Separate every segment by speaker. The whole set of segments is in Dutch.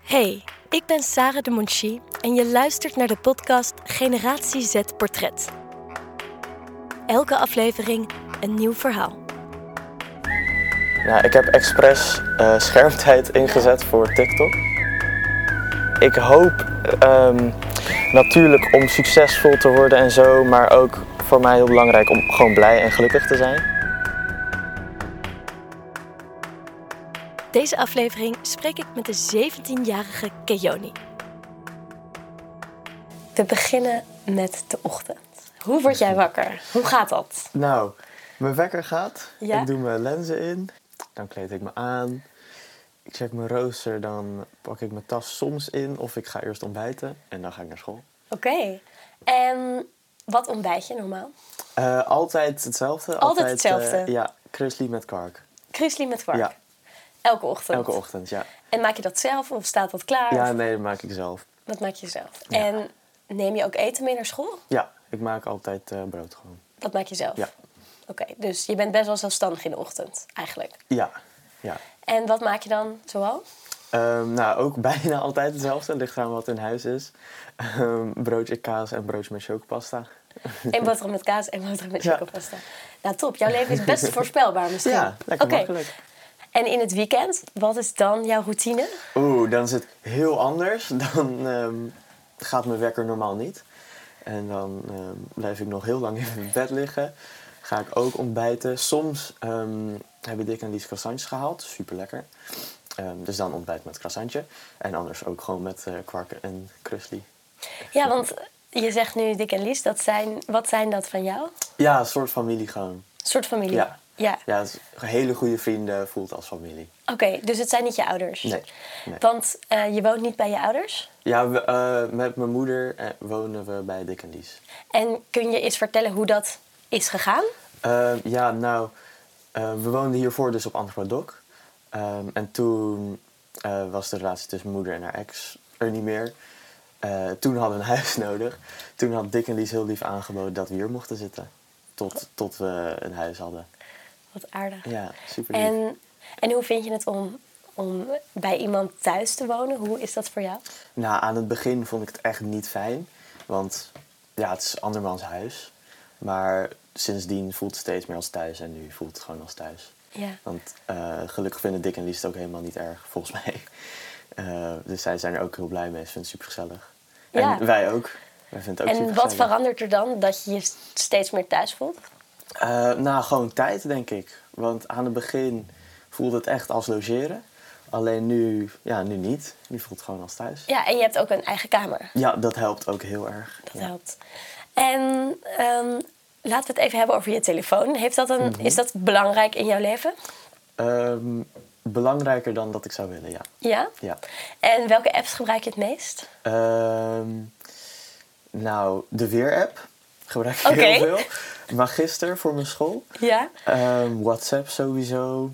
Speaker 1: Hey, ik ben Sarah de Monchi en je luistert naar de podcast Generatie Z Portret. Elke aflevering een nieuw verhaal.
Speaker 2: Ja, ik heb expres eh, schermtijd ingezet voor TikTok. Ik hoop eh, ehm, natuurlijk om succesvol te worden en zo, maar ook voor mij heel belangrijk om gewoon blij en gelukkig te zijn.
Speaker 1: Deze aflevering spreek ik met de 17-jarige Keoni. We beginnen met de ochtend. Hoe word jij wakker? Hoe gaat dat?
Speaker 2: Nou, mijn wekker gaat.
Speaker 1: Ja?
Speaker 2: Ik doe mijn lenzen in. Dan kleed ik me aan. Ik check mijn rooster. Dan pak ik mijn tas soms in. Of ik ga eerst ontbijten. En dan ga ik naar school.
Speaker 1: Oké. En wat ontbijt je normaal?
Speaker 2: Eh, altijd hetzelfde.
Speaker 1: Altijd
Speaker 2: eh,
Speaker 1: hetzelfde?
Speaker 2: ja, Chrisley met kark.
Speaker 1: Grizzly met vark?
Speaker 2: Ja.
Speaker 1: Elke ochtend?
Speaker 2: Elke ochtend, ja.
Speaker 1: En maak je dat zelf of staat dat klaar?
Speaker 2: Ja, nee, dat maak ik zelf.
Speaker 1: Dat maak je zelf.
Speaker 2: Ja.
Speaker 1: En neem je ook eten mee naar school?
Speaker 2: Ja, ik maak altijd eh, brood gewoon.
Speaker 1: Dat maak je zelf?
Speaker 2: Ja.
Speaker 1: Oké, dus je bent best wel zelfstandig in de ochtend, eigenlijk.
Speaker 2: Ja, ja.
Speaker 1: En wat maak je dan zoal?
Speaker 2: Ehm, nou, ook bijna altijd hetzelfde. Het ligt aan wat in huis is. Ehm, broodje kaas en broodje met chocopasta.
Speaker 1: Eén boterham met kaas en boterham met
Speaker 2: Ja.
Speaker 1: chocopasta. Nou, top. Jouw leven is best voorspelbaar misschien.
Speaker 2: Ja, lekker
Speaker 1: Oké.
Speaker 2: makkelijk.
Speaker 1: En in het weekend, wat is dan jouw routine?
Speaker 2: Oeh, dan is het heel anders. Dan ehm, gaat mijn wekker normaal niet. En dan ehm, blijf ik nog heel lang in mijn bed liggen. Ga ik ook ontbijten. Soms ehm, hebben Dick en Lies croissantjes gehaald. Super lekker. dus dan ontbijt met croissantje. En anders ook gewoon met eh kwark en krusli.
Speaker 1: Ja, want je zegt nu Dick en Lies, dat zijn, wat zijn dat van jou?
Speaker 2: Ja, een soort familie gewoon.
Speaker 1: Een soort familie?
Speaker 2: Ja.
Speaker 1: ja.
Speaker 2: Ja, het is- hele goede vrienden voelt als familie.
Speaker 1: Oké, dus het zijn niet je ouders?
Speaker 2: Nee, nee.
Speaker 1: Want eh, je woont niet bij je ouders?
Speaker 2: Ja, we, eh, met mijn moeder eh, wonen we bij Dick en Lies.
Speaker 1: En kun je eens vertellen hoe dat is gegaan?
Speaker 2: Eh, ja, nou, eh, we woonden hiervoor dus op Antwerpen-Dok. en toen eh, was de relatie tussen moeder en haar ex er niet meer. Eh, toen hadden we een huis nodig. Toen had Dick en Lies heel lief aangeboden dat we hier mochten zitten. Tot, tot we een huis hadden.
Speaker 1: Wat aardig.
Speaker 2: Ja, super lief.
Speaker 1: En, en hoe vind je het om, om bij iemand thuis te wonen? Hoe is dat voor jou?
Speaker 2: Nou, aan het begin vond ik het echt niet fijn. Want ja, het is andermans huis. Maar sindsdien voelt het steeds meer als thuis. En nu voelt het gewoon als thuis.
Speaker 1: Ja.
Speaker 2: Want eh, gelukkig vinden Dick en Lies het ook helemaal niet erg, volgens mij. Eh, dus zij zijn er ook heel blij mee. Ze vinden het super gezellig.
Speaker 1: Ja.
Speaker 2: En wij ook. Wij vinden het ook
Speaker 1: En wat
Speaker 2: supergezellig.
Speaker 1: verandert er dan dat je je steeds meer thuis voelt?
Speaker 2: Eh, nou, gewoon tijd, denk ik. Want aan het begin voelde het echt als logeren. Alleen nu, ja, nu niet. Nu voelt het gewoon als thuis.
Speaker 1: Ja, en je hebt ook een eigen kamer.
Speaker 2: Ja, dat helpt ook heel erg.
Speaker 1: Dat
Speaker 2: Ja.
Speaker 1: helpt. En ehm, laten we het even hebben over je telefoon. Heeft dat een, Is dat belangrijk in jouw leven?
Speaker 2: Ehm, belangrijker dan dat ik zou willen, ja.
Speaker 1: Ja?
Speaker 2: ja.
Speaker 1: En welke apps gebruik je het meest?
Speaker 2: Ehm, nou, de Weer-app gebruik ik
Speaker 1: Oké.
Speaker 2: heel veel. Magister voor mijn school.
Speaker 1: Ja.
Speaker 2: Ehm, WhatsApp sowieso.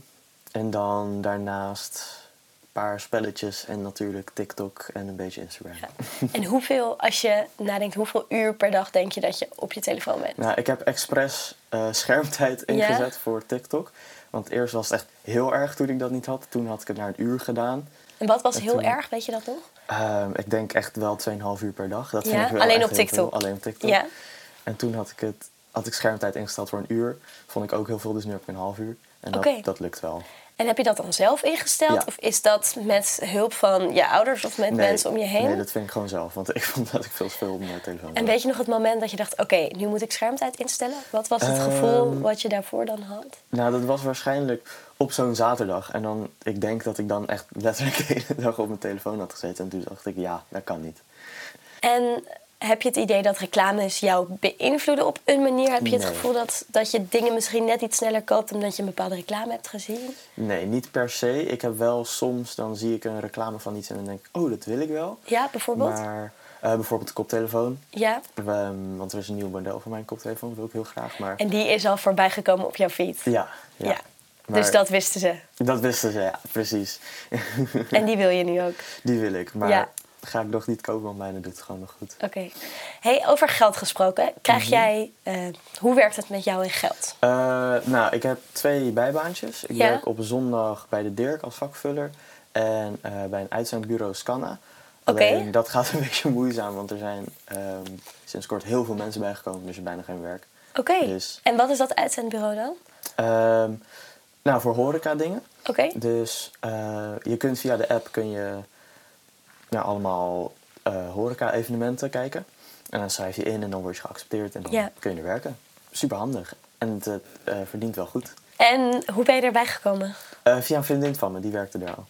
Speaker 2: En dan daarnaast een paar spelletjes en natuurlijk TikTok en een beetje Instagram.
Speaker 1: En hoeveel, als je nadenkt, hoeveel uur per dag denk je dat je op je telefoon bent?
Speaker 2: Nou, ik heb expres eh, schermtijd ingezet voor TikTok. Want eerst was het echt heel erg toen ik dat niet had. Toen had ik het naar een uur gedaan.
Speaker 1: En wat was heel
Speaker 2: toen-
Speaker 1: erg, weet je dat nog?
Speaker 2: Ehm, ik denk echt wel 2,5 uur per dag. Dat
Speaker 1: Ja,
Speaker 2: vind ik wel
Speaker 1: alleen
Speaker 2: echt
Speaker 1: op
Speaker 2: heel
Speaker 1: TikTok.
Speaker 2: veel. Alleen op TikTok.
Speaker 1: Ja.
Speaker 2: En toen had ik, het, had ik schermtijd ingesteld voor een uur. Vond ik ook heel veel, dus nu heb ik een half uur. En dat,
Speaker 1: Oké.
Speaker 2: dat lukt wel.
Speaker 1: En heb je dat dan zelf ingesteld?
Speaker 2: Ja.
Speaker 1: Of is dat met hulp van je ouders of met mensen om je heen?
Speaker 2: Nee, dat vind ik gewoon zelf. Want ik vond dat ik veel te veel op mijn telefoon
Speaker 1: En
Speaker 2: was.
Speaker 1: weet je nog het moment dat je dacht, oké, nu moet ik schermtijd instellen? Wat was het gevoel
Speaker 2: Ehm.
Speaker 1: wat je daarvoor dan had?
Speaker 2: Nou, dat was waarschijnlijk op zo'n zaterdag. En dan, ik denk dat ik dan echt letterlijk de hele dag op mijn telefoon had gezeten. En toen dacht ik, ja, dat kan niet.
Speaker 1: En heb je het idee dat reclames jou beïnvloeden op een manier? Heb je het
Speaker 2: Nee.
Speaker 1: gevoel dat, dat je dingen misschien net iets sneller koopt omdat je een bepaalde reclame hebt gezien?
Speaker 2: Nee, niet per se. Ik heb wel soms, dan zie ik een reclame van iets en dan denk ik, oh, dat wil ik wel.
Speaker 1: Ja, bijvoorbeeld?
Speaker 2: Maar eh, bijvoorbeeld de koptelefoon.
Speaker 1: Ja.
Speaker 2: Ehm, want er is een nieuw model van mijn koptelefoon, dat wil ik heel graag. Maar
Speaker 1: En die is al voorbij gekomen op jouw feed?
Speaker 2: ja, ja.
Speaker 1: Ja. Dus
Speaker 2: Maar-
Speaker 1: dat wisten ze.
Speaker 2: dat wisten ze, ja, precies.
Speaker 1: En die wil je nu ook.
Speaker 2: Die wil ik, maar
Speaker 1: Ja.
Speaker 2: ga ik nog niet kopen, want mijne doet het gewoon nog goed.
Speaker 1: Oké. Hey, over geld gesproken. Krijg jij, eh, hoe werkt het met jou in geld?
Speaker 2: Eh, nou, ik heb twee bijbaantjes. Ik
Speaker 1: Ja.
Speaker 2: werk op zondag bij de Dirk als vakvuller. En eh, bij een uitzendbureau Scanna.
Speaker 1: Oké.
Speaker 2: Alleen dat gaat een beetje moeizaam, want er zijn ehm, sinds kort heel veel mensen bijgekomen, dus je hebt bijna geen werk.
Speaker 1: Oké.
Speaker 2: Dus-
Speaker 1: En wat is dat uitzendbureau dan?
Speaker 2: Ehm, nou, voor horeca dingen.
Speaker 1: Oké.
Speaker 2: Dus eh, je kunt via de app kun je nou, allemaal eh, horeca-evenementen kijken. En dan schrijf je in en dan word je geaccepteerd en dan
Speaker 1: Ja.
Speaker 2: kun je er werken. Super handig. En het eh, verdient wel goed.
Speaker 1: En hoe ben je erbij gekomen?
Speaker 2: Eh, via een vriendin van me, die werkte daar al.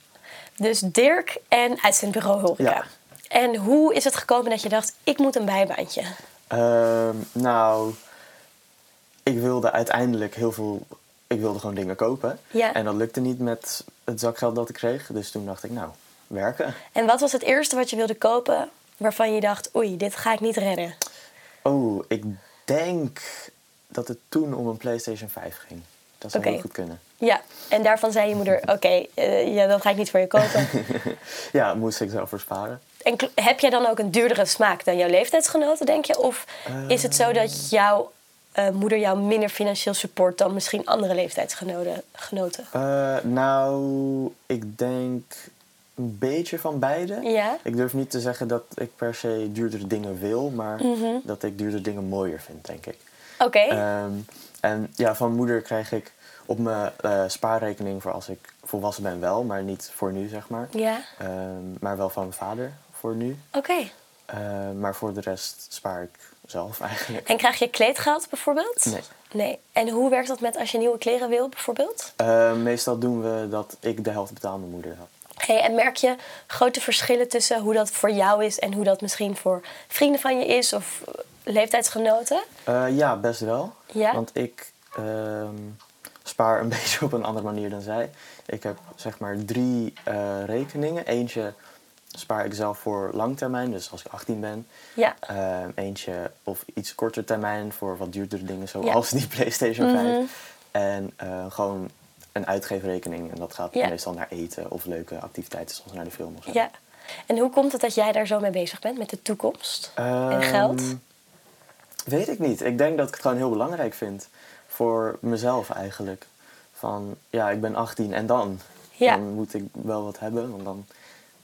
Speaker 1: Dus Dirk en uitzendbureau Horeca.
Speaker 2: Ja.
Speaker 1: En hoe is het gekomen dat je dacht, ik moet een bijbaantje?
Speaker 2: Ehm, nou, ik wilde uiteindelijk heel veel. Ik wilde gewoon dingen kopen.
Speaker 1: Ja.
Speaker 2: En dat lukte niet met het zakgeld dat ik kreeg. Dus toen dacht ik, nou, werken.
Speaker 1: En wat was het eerste wat je wilde kopen waarvan je dacht, oei, dit ga ik niet redden?
Speaker 2: Oh, ik denk dat het toen om een PlayStation 5 ging. Dat zou
Speaker 1: Oké.
Speaker 2: heel goed kunnen.
Speaker 1: Ja, en daarvan zei je moeder, oké, eh, ja, dat ga ik niet voor je kopen.
Speaker 2: Ja, moest ik zelf versparen.
Speaker 1: En kl- heb jij dan ook een duurdere smaak dan jouw leeftijdsgenoten, denk je? Of is het
Speaker 2: Ehm.
Speaker 1: zo dat jouw eh, moeder jou minder financieel support dan misschien andere leeftijdsgenoten? genoten?
Speaker 2: Eh, nou, ik denk een beetje van beide.
Speaker 1: Ja.
Speaker 2: Ik durf niet te zeggen dat ik per se duurdere dingen wil, maar
Speaker 1: Mhm.
Speaker 2: dat ik duurdere dingen mooier vind, denk ik.
Speaker 1: Oké,
Speaker 2: Ehm, en ja, van moeder krijg ik op mijn eh, spaarrekening voor als ik volwassen ben wel, maar niet voor nu, zeg maar.
Speaker 1: ja,
Speaker 2: Ehm, maar wel van mijn vader voor nu.
Speaker 1: oké.
Speaker 2: Ehm, maar voor de rest spaar ik zelf eigenlijk.
Speaker 1: En krijg je kleedgeld bijvoorbeeld?
Speaker 2: Nee.
Speaker 1: Nee. En hoe werkt dat met als je nieuwe kleren wil bijvoorbeeld?
Speaker 2: Ehm, meestal doen we dat ik de helft betaal aan mijn moeder.
Speaker 1: Hey, en merk je grote verschillen tussen hoe dat voor jou is en hoe dat misschien voor vrienden van je is of eh, leeftijdsgenoten?
Speaker 2: Eh, ja, best wel.
Speaker 1: Ja?
Speaker 2: Want ik ehm, spaar een beetje op een andere manier dan zij. Ik heb zeg maar drie eh, rekeningen. Eentje spaar ik zelf voor lang termijn, dus als ik 18 ben.
Speaker 1: Ja.
Speaker 2: Ehm, eentje of iets korter termijn voor wat duurdere dingen, zoals die PlayStation 5.
Speaker 1: Mhm.
Speaker 2: En eh, gewoon een uitgeefrekening. En dat gaat
Speaker 1: Ja.
Speaker 2: meestal naar eten of leuke activiteiten, zoals naar de film of zo.
Speaker 1: Ja. En hoe komt het dat jij daar zo mee bezig bent met de toekomst en
Speaker 2: Ehm,
Speaker 1: geld?
Speaker 2: Weet ik niet. Ik denk dat ik het gewoon heel belangrijk vind. Voor mezelf eigenlijk. Van, ja, ik ben 18 en dan?
Speaker 1: Ja.
Speaker 2: Dan moet ik wel wat hebben, want dan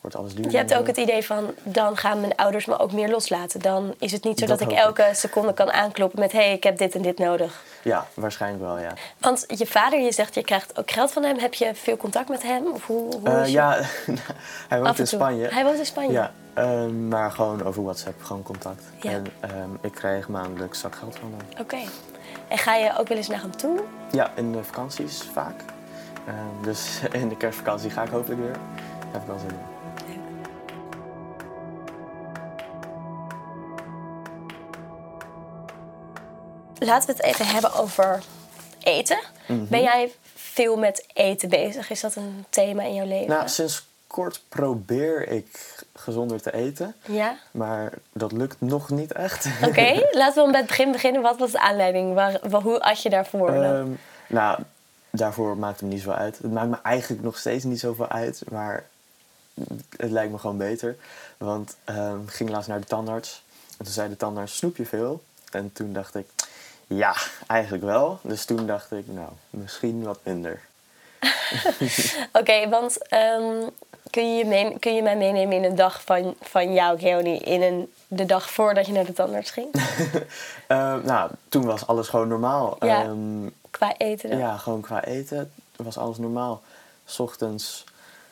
Speaker 2: wordt alles duurder.
Speaker 1: Je hebt
Speaker 2: en
Speaker 1: ook
Speaker 2: zo.
Speaker 1: het idee van, dan gaan mijn ouders me ook meer loslaten. Dan is het niet zo dat,
Speaker 2: Dat
Speaker 1: ik
Speaker 2: hoop ik.
Speaker 1: elke seconde kan aankloppen met, hé, hey, ik heb dit en dit nodig.
Speaker 2: Ja, waarschijnlijk wel, ja.
Speaker 1: Want je vader, je zegt, je krijgt ook geld van hem. Heb je veel contact met hem? Of hoe, hoe
Speaker 2: Eh,
Speaker 1: is je-
Speaker 2: ja, hij
Speaker 1: Af
Speaker 2: woont
Speaker 1: en
Speaker 2: in
Speaker 1: toe.
Speaker 2: Spanje.
Speaker 1: Hij woont in Spanje.
Speaker 2: Ja, ehm, maar gewoon over WhatsApp, gewoon contact.
Speaker 1: Ja.
Speaker 2: En ehm, ik krijg maandelijks zakgeld van hem.
Speaker 1: Oké. En ga je ook wel eens naar hem toe?
Speaker 2: Ja, in de vakanties vaak. Ehm, dus in de kerstvakantie ga ik hopelijk weer. Daar heb ik wel zin in.
Speaker 1: Laten we het even hebben over eten.
Speaker 2: Mhm.
Speaker 1: Ben jij veel met eten bezig? Is dat een thema in jouw leven?
Speaker 2: Nou, sinds kort probeer ik gezonder te eten.
Speaker 1: ja.
Speaker 2: Maar dat lukt nog niet echt.
Speaker 1: Oké, laten we dan bij het begin beginnen. Wat was de aanleiding? Waar, wa- hoe at je daarvoor? dan?
Speaker 2: Ehm, nou, daarvoor maakt het me niet zoveel uit. Het maakt me eigenlijk nog steeds niet zoveel uit. Maar het lijkt me gewoon beter. Want ehm, ik ging laatst naar de tandarts. En toen zei de tandarts, snoep je veel? En toen dacht ik, ja, eigenlijk wel. Dus toen dacht ik, nou, misschien wat minder.
Speaker 1: Oké, want ehm, kun, je meen- kun je mij meenemen in een dag van, van jou, Keoni, in een, de dag voordat je naar de tandarts ging?
Speaker 2: Ehm, nou, toen was alles gewoon normaal.
Speaker 1: Ja.
Speaker 2: Ehm,
Speaker 1: Qua eten dan?
Speaker 2: Ja, gewoon qua eten was alles normaal. 's Ochtends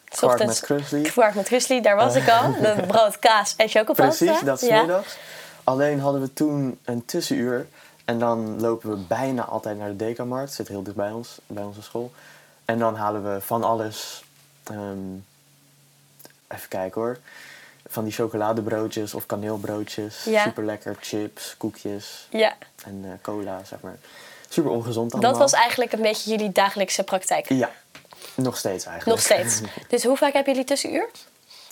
Speaker 1: S
Speaker 2: kwark
Speaker 1: ochtends
Speaker 2: met krusli.
Speaker 1: Kwark met Krusli, daar was ik al. Dat brood, kaas en chocopasta.
Speaker 2: Precies, dat is
Speaker 1: Ja.
Speaker 2: middags. Alleen hadden we toen een tussenuur. En dan lopen we bijna altijd naar de Dekamarkt. Zit heel dicht bij ons, bij onze school. En dan halen we van alles. ehm, even kijken hoor. Van die chocoladebroodjes of kaneelbroodjes.
Speaker 1: Ja.
Speaker 2: Super lekker. Chips, koekjes
Speaker 1: Ja,
Speaker 2: en eh, cola, zeg maar. Super ongezond allemaal.
Speaker 1: dat was eigenlijk een beetje jullie dagelijkse praktijk.
Speaker 2: Ja, nog steeds eigenlijk.
Speaker 1: Nog steeds. Dus hoe vaak hebben jullie tussenuur?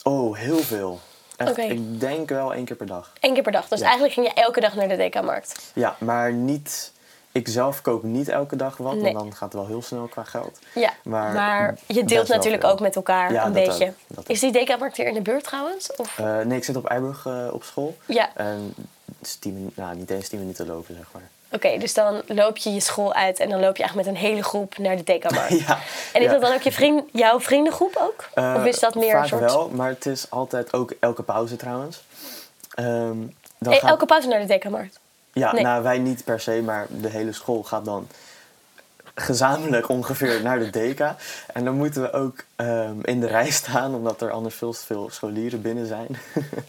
Speaker 2: Oh, heel veel. Echt,
Speaker 1: Oké.
Speaker 2: Ik denk wel één keer per dag.
Speaker 1: Eén keer per dag. Dus
Speaker 2: Ja.
Speaker 1: eigenlijk ging je elke dag naar de DK-markt.
Speaker 2: Ja, maar niet. Ik zelf koop niet elke dag wat,
Speaker 1: Nee.
Speaker 2: want dan gaat het wel heel snel qua geld.
Speaker 1: Ja, maar,
Speaker 2: Maar
Speaker 1: je
Speaker 2: best
Speaker 1: deelt
Speaker 2: wel
Speaker 1: natuurlijk
Speaker 2: veel.
Speaker 1: ook met elkaar
Speaker 2: Ja,
Speaker 1: een
Speaker 2: dat
Speaker 1: beetje.
Speaker 2: ook, dat ook.
Speaker 1: Is die DK-markt hier in de buurt trouwens? Of?
Speaker 2: Eh, nee, ik zit op Eiburg eh, op school.
Speaker 1: Ja.
Speaker 2: En het is tien, minu- nou, niet eens 10 minuten lopen, zeg maar.
Speaker 1: Oké, dus dan loop je je school uit en dan loop je eigenlijk met een hele groep naar de Dekamarkt.
Speaker 2: ja.
Speaker 1: En is
Speaker 2: ja.
Speaker 1: dat dan ook je vriend, jouw vriendengroep ook?
Speaker 2: Eh,
Speaker 1: of is dat meer
Speaker 2: vaak
Speaker 1: een soort...
Speaker 2: wel, maar het is altijd ook elke pauze trouwens. Ehm, dan
Speaker 1: Eh,
Speaker 2: gaat-
Speaker 1: Elke pauze naar de Dekamarkt?
Speaker 2: Ja,
Speaker 1: nee.
Speaker 2: nou wij niet per se, maar de hele school gaat dan gezamenlijk ongeveer naar de deka. En dan moeten we ook ehm, in de rij staan, omdat er anders veel te veel scholieren binnen zijn.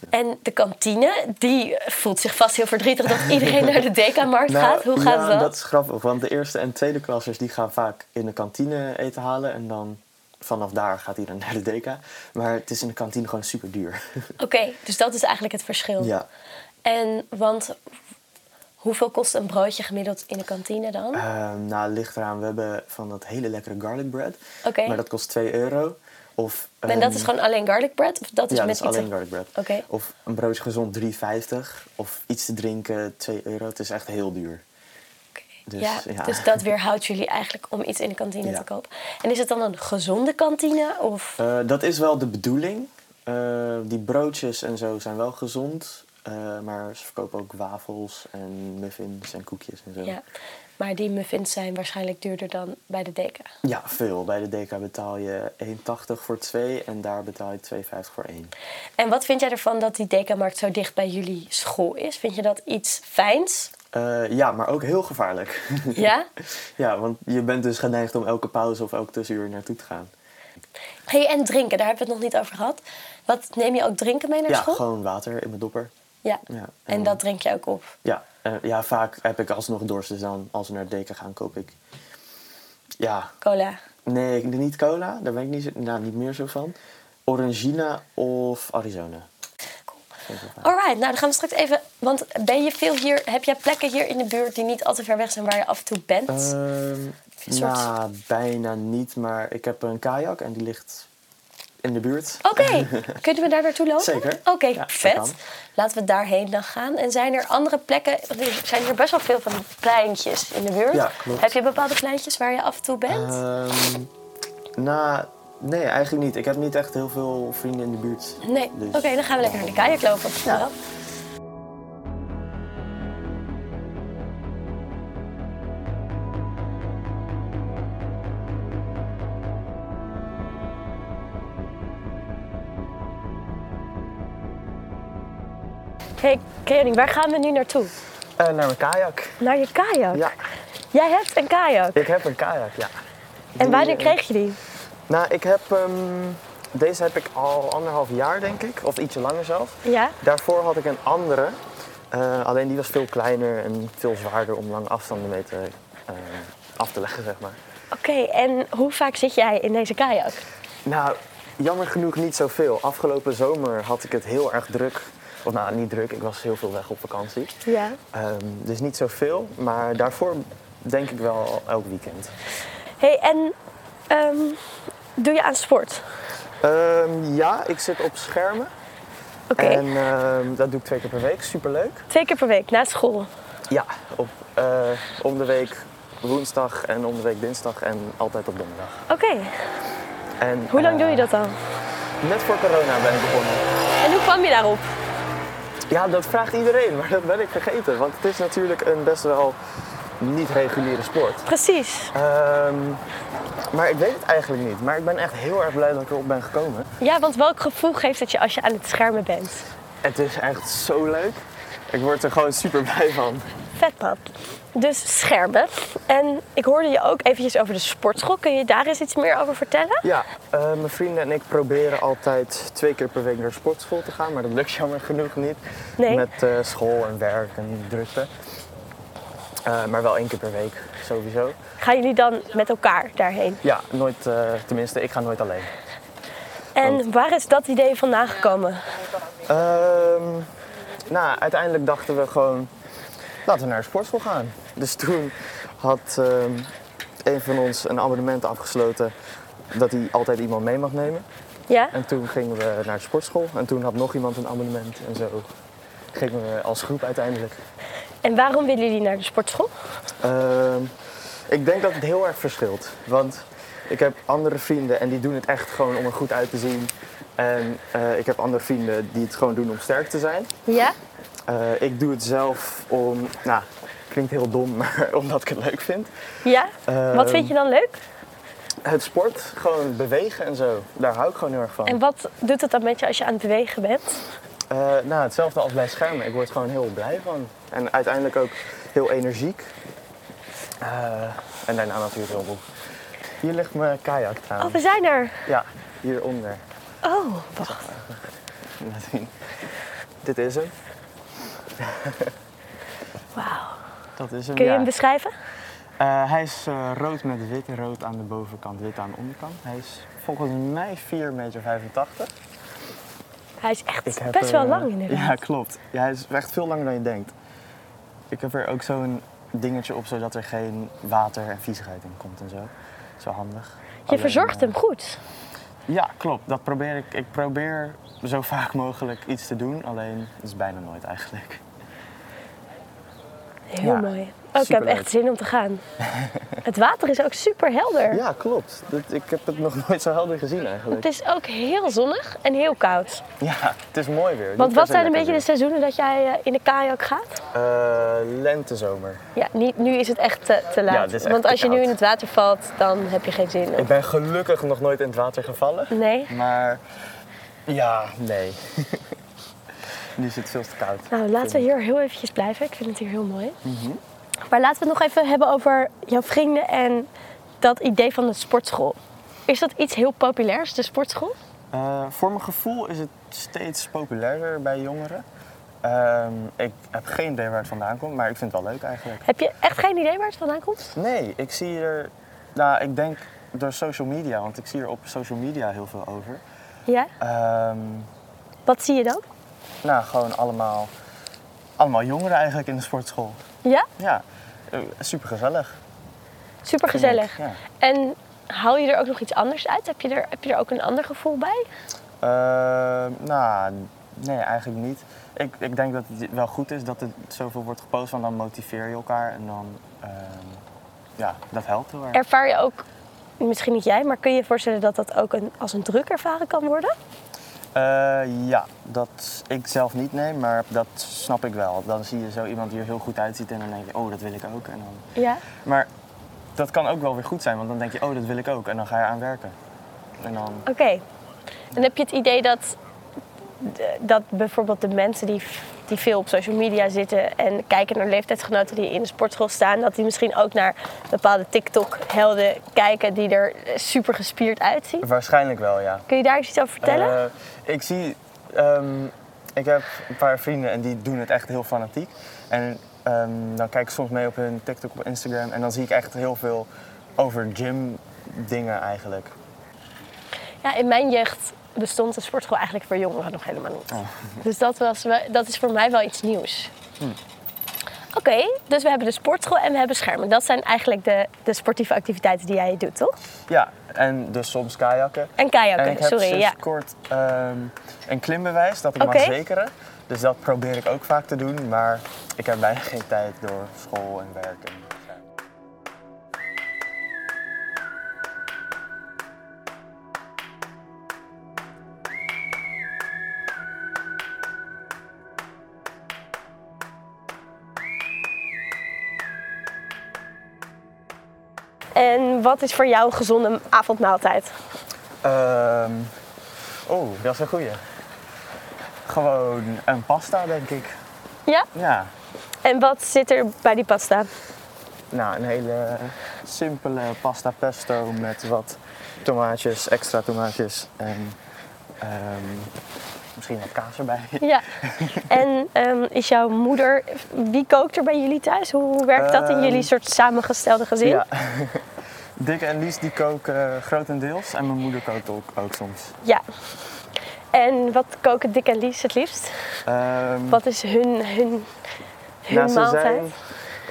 Speaker 1: En de kantine, die voelt zich vast heel verdrietig dat iedereen naar de Dekamarkt
Speaker 2: Nou,
Speaker 1: gaat. Hoe gaat
Speaker 2: ja,
Speaker 1: dat?
Speaker 2: Dat is grappig, want de eerste en tweede klassers die gaan vaak in de kantine eten halen. En dan vanaf daar gaat hij dan naar de deka. Maar het is in de kantine gewoon super duur.
Speaker 1: Oké, dus dat is eigenlijk het verschil.
Speaker 2: ja.
Speaker 1: En want hoeveel kost een broodje gemiddeld in de kantine dan?
Speaker 2: Ehm, nou, ligt eraan. We hebben van dat hele lekkere garlic bread.
Speaker 1: Oké.
Speaker 2: Maar dat kost 2 euro. Of,
Speaker 1: en dat
Speaker 2: ehm,
Speaker 1: is gewoon alleen garlic bread? Of dat is
Speaker 2: ja,
Speaker 1: met
Speaker 2: dat is
Speaker 1: iets...
Speaker 2: alleen garlic bread.
Speaker 1: Oké.
Speaker 2: Of een broodje gezond 3,50. Of iets te drinken 2 euro. Het is echt heel duur.
Speaker 1: Oké.
Speaker 2: Dus,
Speaker 1: ja,
Speaker 2: ja.
Speaker 1: dus dat weerhoudt jullie eigenlijk om iets in de kantine
Speaker 2: Ja.
Speaker 1: te kopen. En is het dan een gezonde kantine? Of...
Speaker 2: Eh, dat is wel de bedoeling. Eh, die broodjes en zo zijn wel gezond. eh, maar ze verkopen ook wafels en muffins en koekjes en zo.
Speaker 1: Ja, maar die muffins zijn waarschijnlijk duurder dan bij de deka.
Speaker 2: Ja, veel. Bij de DK betaal je 1,80 voor 2 en daar betaal je 2,50 voor 1.
Speaker 1: En wat vind jij ervan dat die dekamarkt zo dicht bij jullie school is? Vind je dat iets fijns?
Speaker 2: Eh, ja, maar ook heel gevaarlijk.
Speaker 1: Ja?
Speaker 2: ja, want je bent dus geneigd om elke pauze of elk tussenuur naartoe te gaan.
Speaker 1: Hey, en drinken, daar hebben we het nog niet over gehad. Wat neem je ook drinken mee naar
Speaker 2: Ja,
Speaker 1: school?
Speaker 2: gewoon water in mijn dopper.
Speaker 1: Ja.
Speaker 2: Ja, en
Speaker 1: En
Speaker 2: dan-
Speaker 1: dat drink je ook op.
Speaker 2: Ja, eh, ja, vaak heb ik alsnog dorst, dus dan als we naar de deken gaan, koop ik... Ja,
Speaker 1: Cola.
Speaker 2: nee, ik- niet cola, daar ben ik niet, zo- nou, niet meer zo van. Orangina of Arizona. Vind ik wel fijn.
Speaker 1: Alright, nou dan gaan we straks even. Want ben je veel hier? Heb jij plekken hier in de buurt die niet al te ver weg zijn waar je af en toe bent?
Speaker 2: Ehm
Speaker 1: soort-
Speaker 2: Nou, bijna niet, maar ik heb een kajak en die ligt in de buurt.
Speaker 1: Oké, kunnen we daar naartoe lopen?
Speaker 2: Zeker.
Speaker 1: Oké,
Speaker 2: Ja, dat
Speaker 1: vet.
Speaker 2: kan.
Speaker 1: Laten we daarheen dan gaan. En zijn er andere plekken? Er zijn hier best wel veel van die pleintjes in de buurt.
Speaker 2: Ja, klopt.
Speaker 1: Heb je bepaalde pleintjes waar je af en toe bent?
Speaker 2: Ehm nou, nee, eigenlijk niet. Ik heb niet echt heel veel vrienden in de buurt.
Speaker 1: nee.
Speaker 2: dus-
Speaker 1: Oké, dan gaan we lekker naar de Nou. kajak lopen. Ja. Hey, Kening, waar gaan we nu naartoe?
Speaker 2: Eh, naar mijn kajak.
Speaker 1: Naar je kajak.
Speaker 2: Ja,
Speaker 1: Jij hebt een kajak.
Speaker 2: ik heb een kajak, ja.
Speaker 1: En wanneer
Speaker 2: eh,
Speaker 1: kreeg je die?
Speaker 2: Nou, ik heb... ehm, deze heb ik al anderhalf jaar, denk ik. Of ietsje langer zelf.
Speaker 1: Ja.
Speaker 2: Daarvoor had ik een andere. eh, alleen die was veel kleiner en veel zwaarder om lange afstanden mee te, eh, af te leggen, zeg maar.
Speaker 1: Oké, en hoe vaak zit jij in deze kajak?
Speaker 2: Nou, jammer genoeg niet zoveel. Afgelopen zomer had ik het heel erg druk. Of nou, niet druk. Ik was heel veel weg op vakantie.
Speaker 1: Ja.
Speaker 2: Ehm, dus niet zoveel, maar daarvoor denk ik wel elk weekend.
Speaker 1: Hey, en ehm, doe je aan sport?
Speaker 2: Ehm, ja, ik zit op schermen.
Speaker 1: Oké,
Speaker 2: En ehm, dat doe ik twee keer per week. Superleuk.
Speaker 1: twee keer per week na school.
Speaker 2: Ja, op, eh, om de week woensdag en om de week dinsdag en altijd op donderdag.
Speaker 1: Oké,
Speaker 2: En,
Speaker 1: hoe lang
Speaker 2: eh,
Speaker 1: doe je dat dan?
Speaker 2: Net voor corona ben ik begonnen.
Speaker 1: En hoe kwam je daarop?
Speaker 2: Ja, dat vraagt iedereen, maar dat ben ik vergeten. Want het is natuurlijk een best wel niet reguliere sport.
Speaker 1: Precies.
Speaker 2: Ehm, maar ik weet het eigenlijk niet. Maar ik ben echt heel erg blij dat ik erop ben gekomen.
Speaker 1: Ja, want welk gevoel geeft het je als je aan het schermen bent?
Speaker 2: Het is echt zo leuk. Ik word er gewoon super blij van.
Speaker 1: Vet man. Dus schermen. En ik hoorde je ook eventjes over de sportschool. Kun je daar eens iets meer over vertellen?
Speaker 2: Ja, eh, mijn vrienden en ik proberen altijd twee keer per week naar de sportschool te gaan. Maar dat lukt jammer genoeg niet.
Speaker 1: Nee.
Speaker 2: Met eh, school en werk en drukte. Eh, maar wel één keer per week, sowieso.
Speaker 1: Gaan jullie dan met elkaar daarheen?
Speaker 2: Ja, nooit, eh, tenminste, ik ga nooit alleen.
Speaker 1: En waar is dat idee vandaan gekomen?
Speaker 2: Ehm, nou, uiteindelijk dachten we gewoon, laten we naar de sportschool gaan. Dus toen had ehm, een van ons een abonnement afgesloten dat hij altijd iemand mee mag nemen.
Speaker 1: Ja?
Speaker 2: En toen gingen we naar de sportschool en toen had nog iemand een abonnement en zo gingen we als groep uiteindelijk.
Speaker 1: En waarom willen jullie naar de sportschool?
Speaker 2: Ehm, ik denk dat het heel erg verschilt, want ik heb andere vrienden en die doen het echt gewoon om er goed uit te zien. En eh, ik heb andere vrienden die het gewoon doen om sterk te zijn.
Speaker 1: Ja?
Speaker 2: Eh, ik doe het zelf om. Nou, Klinkt heel dom, maar omdat ik het leuk vind.
Speaker 1: Ja? Wat
Speaker 2: Ehm,
Speaker 1: vind je dan leuk?
Speaker 2: Het sport, gewoon bewegen en zo. Daar hou ik gewoon heel erg van.
Speaker 1: En wat doet het dan met je als je aan het bewegen bent?
Speaker 2: Eh, nou, hetzelfde als bij schermen. Ik word gewoon heel blij van. En uiteindelijk ook heel energiek. Eh, en daarna natuurlijk heel goed. Hier ligt mijn kajak
Speaker 1: Oh,
Speaker 2: trouwens.
Speaker 1: we zijn er.
Speaker 2: Ja, hieronder.
Speaker 1: Oh, wacht.
Speaker 2: Laat zien. Dit is hem.
Speaker 1: Wauw.
Speaker 2: Dat is hem,
Speaker 1: Kun je
Speaker 2: ja.
Speaker 1: hem beschrijven?
Speaker 2: Eh, hij is eh, rood met wit, rood aan de bovenkant, wit aan de onderkant. Hij is volgens mij 4,85 meter.
Speaker 1: Hij is echt
Speaker 2: heb
Speaker 1: best wel
Speaker 2: er, eh,
Speaker 1: lang inderdaad.
Speaker 2: Ja, klopt. Ja, hij is echt veel langer dan je denkt. Ik heb er ook zo'n dingetje op, zodat er geen water en viezigheid in komt en zo. Zo handig.
Speaker 1: Je
Speaker 2: Alleen,
Speaker 1: verzorgt
Speaker 2: eh,
Speaker 1: hem goed.
Speaker 2: Ja, klopt. Dat probeer ik. Ik probeer zo vaak mogelijk iets te doen, alleen dat is bijna nooit eigenlijk.
Speaker 1: Heel
Speaker 2: Ja,
Speaker 1: mooi. Oh, ik heb
Speaker 2: superleuk.
Speaker 1: echt zin om te gaan. het water is ook super helder.
Speaker 2: Ja, klopt. Dat- ik heb het nog nooit zo helder gezien eigenlijk.
Speaker 1: Het is ook heel zonnig en heel koud.
Speaker 2: Ja, het is mooi weer.
Speaker 1: Want
Speaker 2: Niet
Speaker 1: wat
Speaker 2: per se
Speaker 1: zijn een beetje
Speaker 2: lekker
Speaker 1: de seizoenen dat jij eh, in de kajak gaat?
Speaker 2: weer. Eh, lentezomer.
Speaker 1: Ja, niet, nu is het echt te, te laat.
Speaker 2: dit is echt
Speaker 1: Want
Speaker 2: te
Speaker 1: als je nu
Speaker 2: koud.
Speaker 1: in het water valt, dan heb je geen zin.
Speaker 2: Ik ben gelukkig nog nooit in het water gevallen.
Speaker 1: Nee?
Speaker 2: Maar ja, nee. nu is het veel te koud.
Speaker 1: Nou, laten we hier heel eventjes blijven. Ik vind het hier heel mooi.
Speaker 2: Mhm.
Speaker 1: Maar laten we het nog even hebben over jouw vrienden en dat idee van de sportschool. Is dat iets heel populairs, de sportschool?
Speaker 2: Eh, voor mijn gevoel is het steeds populairder bij jongeren. Ehm, ik heb geen idee waar het vandaan komt, maar ik vind het wel leuk eigenlijk.
Speaker 1: Heb je echt geen idee waar het vandaan komt?
Speaker 2: Nee, ik zie er, nou ik denk door social media, want ik zie er op social media heel veel over.
Speaker 1: Ja?
Speaker 2: Ehm,
Speaker 1: Wat zie je dan?
Speaker 2: nou, gewoon allemaal, allemaal jongeren eigenlijk in de sportschool.
Speaker 1: Ja?
Speaker 2: Ja, eh, super gezellig.
Speaker 1: Super gezellig.
Speaker 2: Ja.
Speaker 1: En haal je er ook nog iets anders uit? Heb je er, heb je er ook een ander gevoel bij?
Speaker 2: Ehm, nou, nee, eigenlijk niet. Ik, ik denk dat het wel goed is dat er zoveel wordt gepost, want dan motiveer je elkaar en dan, ehm, ja, dat helpt heel erg.
Speaker 1: Ervaar je ook, misschien niet jij, maar kun je je voorstellen dat dat ook een, als een druk ervaren kan worden?
Speaker 2: Eh, ja, dat ik zelf niet neem, maar dat snap ik wel. Dan zie je zo iemand die er heel goed uitziet en dan denk je, oh, dat wil ik ook. En dan...
Speaker 1: Ja.
Speaker 2: Maar dat kan ook wel weer goed zijn, want dan denk je, oh, dat wil ik ook. En dan ga je eraan werken. En dan,
Speaker 1: Oké. En heb je het idee dat, dat bijvoorbeeld de mensen die, die veel op social media zitten en kijken naar leeftijdsgenoten die in de sportschool staan, dat die misschien ook naar bepaalde TikTok-helden kijken die er super gespierd uitzien?
Speaker 2: waarschijnlijk wel, ja.
Speaker 1: Kun je daar eens iets over vertellen?
Speaker 2: Eh, ik zie, ehm, ik heb een paar vrienden en die doen het echt heel fanatiek. En ehm, dan kijk ik soms mee op hun TikTok, op Instagram. En dan zie ik echt heel veel over gym dingen eigenlijk.
Speaker 1: Ja, in mijn jeugd bestond de sportschool eigenlijk voor jongeren nog helemaal niet.
Speaker 2: Oh.
Speaker 1: Dus dat, was, wel- dat is voor mij wel iets nieuws.
Speaker 2: Hm.
Speaker 1: Oké, dus we hebben de sportschool en we hebben schermen. Dat zijn eigenlijk de, de sportieve activiteiten die jij doet, toch?
Speaker 2: Ja, en dus soms kajakken.
Speaker 1: En
Speaker 2: en
Speaker 1: kajakken,
Speaker 2: ik heb
Speaker 1: sorry.
Speaker 2: sinds
Speaker 1: Ja.
Speaker 2: kort ehm, een klimbewijs dat ik
Speaker 1: Oké.
Speaker 2: mag zekeren. Dus dat probeer ik ook vaak te doen, maar ik heb bijna geen tijd door school en werk. en-
Speaker 1: En wat is voor jou een gezonde avondmaaltijd?
Speaker 2: Ehm Oeh, Oh, dat is een goeie. Gewoon een pasta, denk ik.
Speaker 1: Ja?
Speaker 2: Ja,
Speaker 1: En wat zit er bij die pasta?
Speaker 2: nou een hele simpele pasta pesto met wat tomaatjes, extra tomaatjes en ehm, misschien wat kaas erbij.
Speaker 1: Ja. en ehm, is jouw moeder... Wie kookt er bij jullie thuis? Hoe werkt dat in
Speaker 2: Ehm,
Speaker 1: jullie soort samengestelde gezin?
Speaker 2: Ja. Dick en Lies die koken eh, grotendeels en mijn moeder kookt ook, ook soms.
Speaker 1: Ja. En wat koken Dick en Lies het liefst?
Speaker 2: Ehm,
Speaker 1: Wat is hun, hun, hun
Speaker 2: nou, ze
Speaker 1: maaltijd?
Speaker 2: zijn,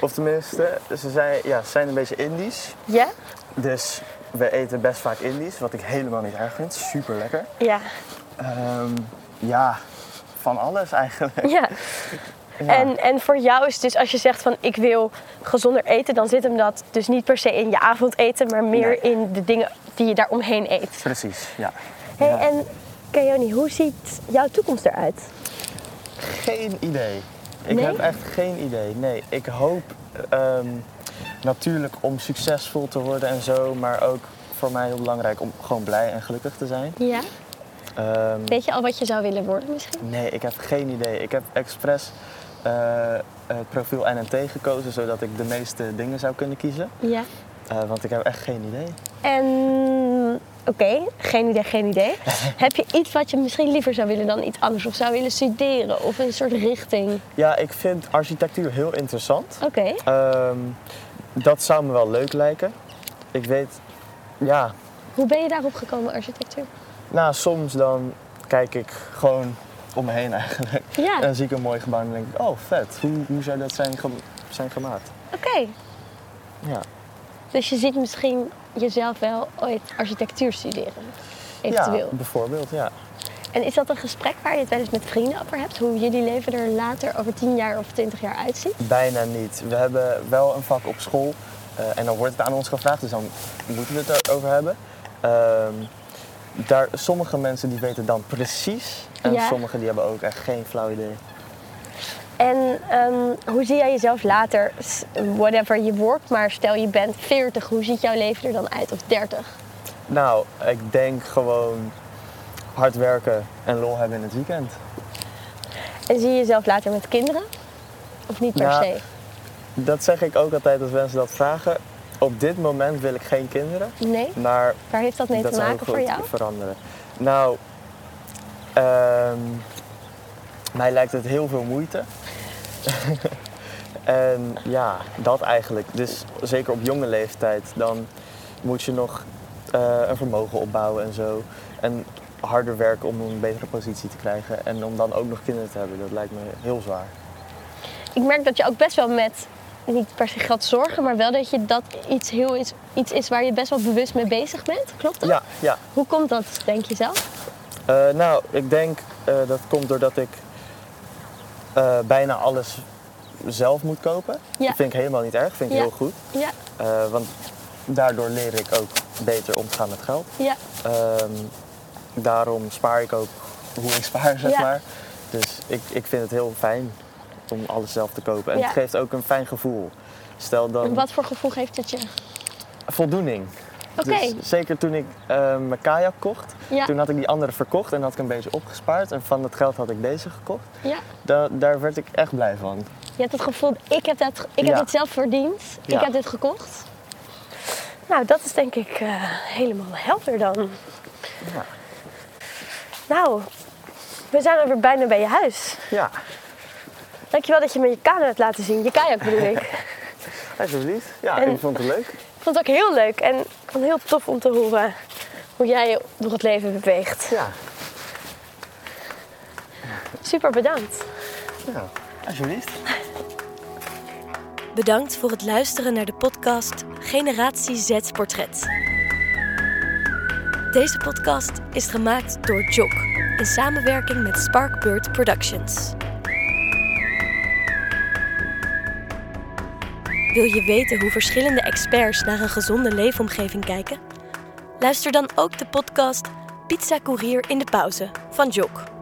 Speaker 2: of tenminste, ze zijn, ja, ze zijn een beetje Indisch.
Speaker 1: Ja?
Speaker 2: Dus we eten best vaak Indisch, wat ik helemaal niet erg vind. Super lekker.
Speaker 1: Ja.
Speaker 2: Ehm, ja, van alles eigenlijk.
Speaker 1: ja. En, en voor jou is het dus als je zegt van ik wil gezonder eten, dan zit hem dat dus niet per se in je avondeten, maar meer
Speaker 2: Nee.
Speaker 1: in de dingen die je daaromheen eet.
Speaker 2: Precies, ja.
Speaker 1: Hé,
Speaker 2: Ja.
Speaker 1: en Keoni, hoe ziet jouw toekomst eruit?
Speaker 2: Geen idee. Ik
Speaker 1: Nee?
Speaker 2: heb echt geen idee. Nee, ik hoop ehm, natuurlijk om succesvol te worden en zo, maar ook voor mij heel belangrijk om gewoon blij en gelukkig te zijn.
Speaker 1: Ja?
Speaker 2: Ehm,
Speaker 1: Weet je al wat je zou willen worden misschien?
Speaker 2: Nee, ik heb geen idee. Ik heb expres eh, het profiel NNT gekozen, zodat ik de meeste dingen zou kunnen kiezen.
Speaker 1: Ja.
Speaker 2: Eh, want ik heb echt geen idee.
Speaker 1: En oké, geen idee, geen idee. Heb je iets wat je misschien liever zou willen dan iets anders? Of zou willen studeren? Of een soort richting?
Speaker 2: Ja, ik vind architectuur heel interessant.
Speaker 1: Oké.
Speaker 2: Ehm, dat zou me wel leuk lijken. Ik weet, ja,
Speaker 1: Hoe ben je daarop gekomen, architectuur?
Speaker 2: nou soms dan kijk ik gewoon om me heen eigenlijk.
Speaker 1: Ja,
Speaker 2: En dan zie ik een mooi gebouw en dan denk ik, oh vet, hoe, hoe zou dat zijn, ge- zijn gemaakt?
Speaker 1: oké.
Speaker 2: Ja.
Speaker 1: Dus je ziet misschien jezelf wel ooit architectuur studeren.
Speaker 2: ja,
Speaker 1: Eventueel.
Speaker 2: bijvoorbeeld, ja.
Speaker 1: En is dat een gesprek waar je het wel eens met vrienden over hebt? Hoe jullie leven er later over 10 jaar of 20 jaar uitziet?
Speaker 2: Bijna niet. We hebben wel een vak op school eh, en dan wordt het aan ons gevraagd, dus dan moeten we het erover hebben. Ehm, daar, sommige mensen die weten dan precies en
Speaker 1: Ja.
Speaker 2: sommige die hebben ook echt geen flauw idee.
Speaker 1: En ehm, hoe zie jij jezelf later, S- whatever je wordt, maar stel je bent 40, hoe ziet jouw leven er dan uit? Of 30?
Speaker 2: Nou, ik denk gewoon hard werken en lol hebben in het weekend.
Speaker 1: En zie je jezelf later met kinderen? Of niet per
Speaker 2: Nou,
Speaker 1: se?
Speaker 2: Dat zeg ik ook altijd als mensen dat vragen. Op dit moment wil ik geen kinderen,
Speaker 1: Nee?
Speaker 2: maar
Speaker 1: Waar heeft dat mee
Speaker 2: dat
Speaker 1: te
Speaker 2: zou
Speaker 1: maken
Speaker 2: heel
Speaker 1: voor
Speaker 2: goed
Speaker 1: jou?
Speaker 2: veranderen. Nou, ehm, mij lijkt het heel veel moeite. en ja, dat eigenlijk. Dus zeker op jonge leeftijd, dan moet je nog eh, een vermogen opbouwen en zo. En harder werken om een betere positie te krijgen. En om dan ook nog kinderen te hebben, dat lijkt me heel zwaar.
Speaker 1: Ik merk dat je ook best wel met, niet per se geld zorgen, maar wel dat je dat iets, heel is, iets is waar je best wel bewust mee bezig bent. Klopt dat?
Speaker 2: Ja, ja.
Speaker 1: Hoe komt dat, denk je zelf?
Speaker 2: Eh, nou, ik denk eh, dat komt doordat ik eh, bijna alles zelf moet kopen.
Speaker 1: Ja.
Speaker 2: Dat vind ik helemaal niet erg, vind ik
Speaker 1: Ja.
Speaker 2: heel goed.
Speaker 1: Ja,
Speaker 2: Eh, want daardoor leer ik ook beter om te gaan met geld.
Speaker 1: ja.
Speaker 2: Ehm, daarom spaar ik ook hoe ik spaar, zeg
Speaker 1: Ja.
Speaker 2: maar. Dus ik, ik vind het heel fijn om alles zelf te kopen. En
Speaker 1: Ja.
Speaker 2: het geeft ook een fijn gevoel. Stel dan
Speaker 1: En wat voor gevoel heeft het je?
Speaker 2: voldoening.
Speaker 1: Oké,
Speaker 2: Dus zeker toen ik eh, mijn kajak kocht,
Speaker 1: ja,
Speaker 2: toen had ik die andere verkocht en had ik een beetje opgespaard. En van dat geld had ik deze gekocht.
Speaker 1: ja.
Speaker 2: Da- daar werd ik echt blij van.
Speaker 1: Je hebt het gevoel, ik heb, dat, ik heb
Speaker 2: Ja.
Speaker 1: dit zelf verdiend. Ik
Speaker 2: Ja.
Speaker 1: heb dit gekocht. Nou, dat is denk ik eh, helemaal helder dan.
Speaker 2: Ja.
Speaker 1: Nou, we zijn alweer bijna bij je huis.
Speaker 2: Ja,
Speaker 1: Dankjewel dat je me je kano hebt laten zien. Je kajak bedoel ik.
Speaker 2: alsjeblieft. Ja,
Speaker 1: En-
Speaker 2: ik vond het leuk.
Speaker 1: Ik vond het ook heel leuk en ik vond het heel tof om te horen hoe jij je door het leven beweegt.
Speaker 2: Ja,
Speaker 1: Super bedankt.
Speaker 2: ja. alsjeblieft.
Speaker 3: Bedankt voor het luisteren naar de podcast Generatie Z Portret. Deze podcast is gemaakt door Jock in samenwerking met Sparkbird Productions. Wil je weten hoe verschillende experts naar een gezonde leefomgeving kijken? Luister dan ook de podcast Pizza Courier in de Pauze van Jock.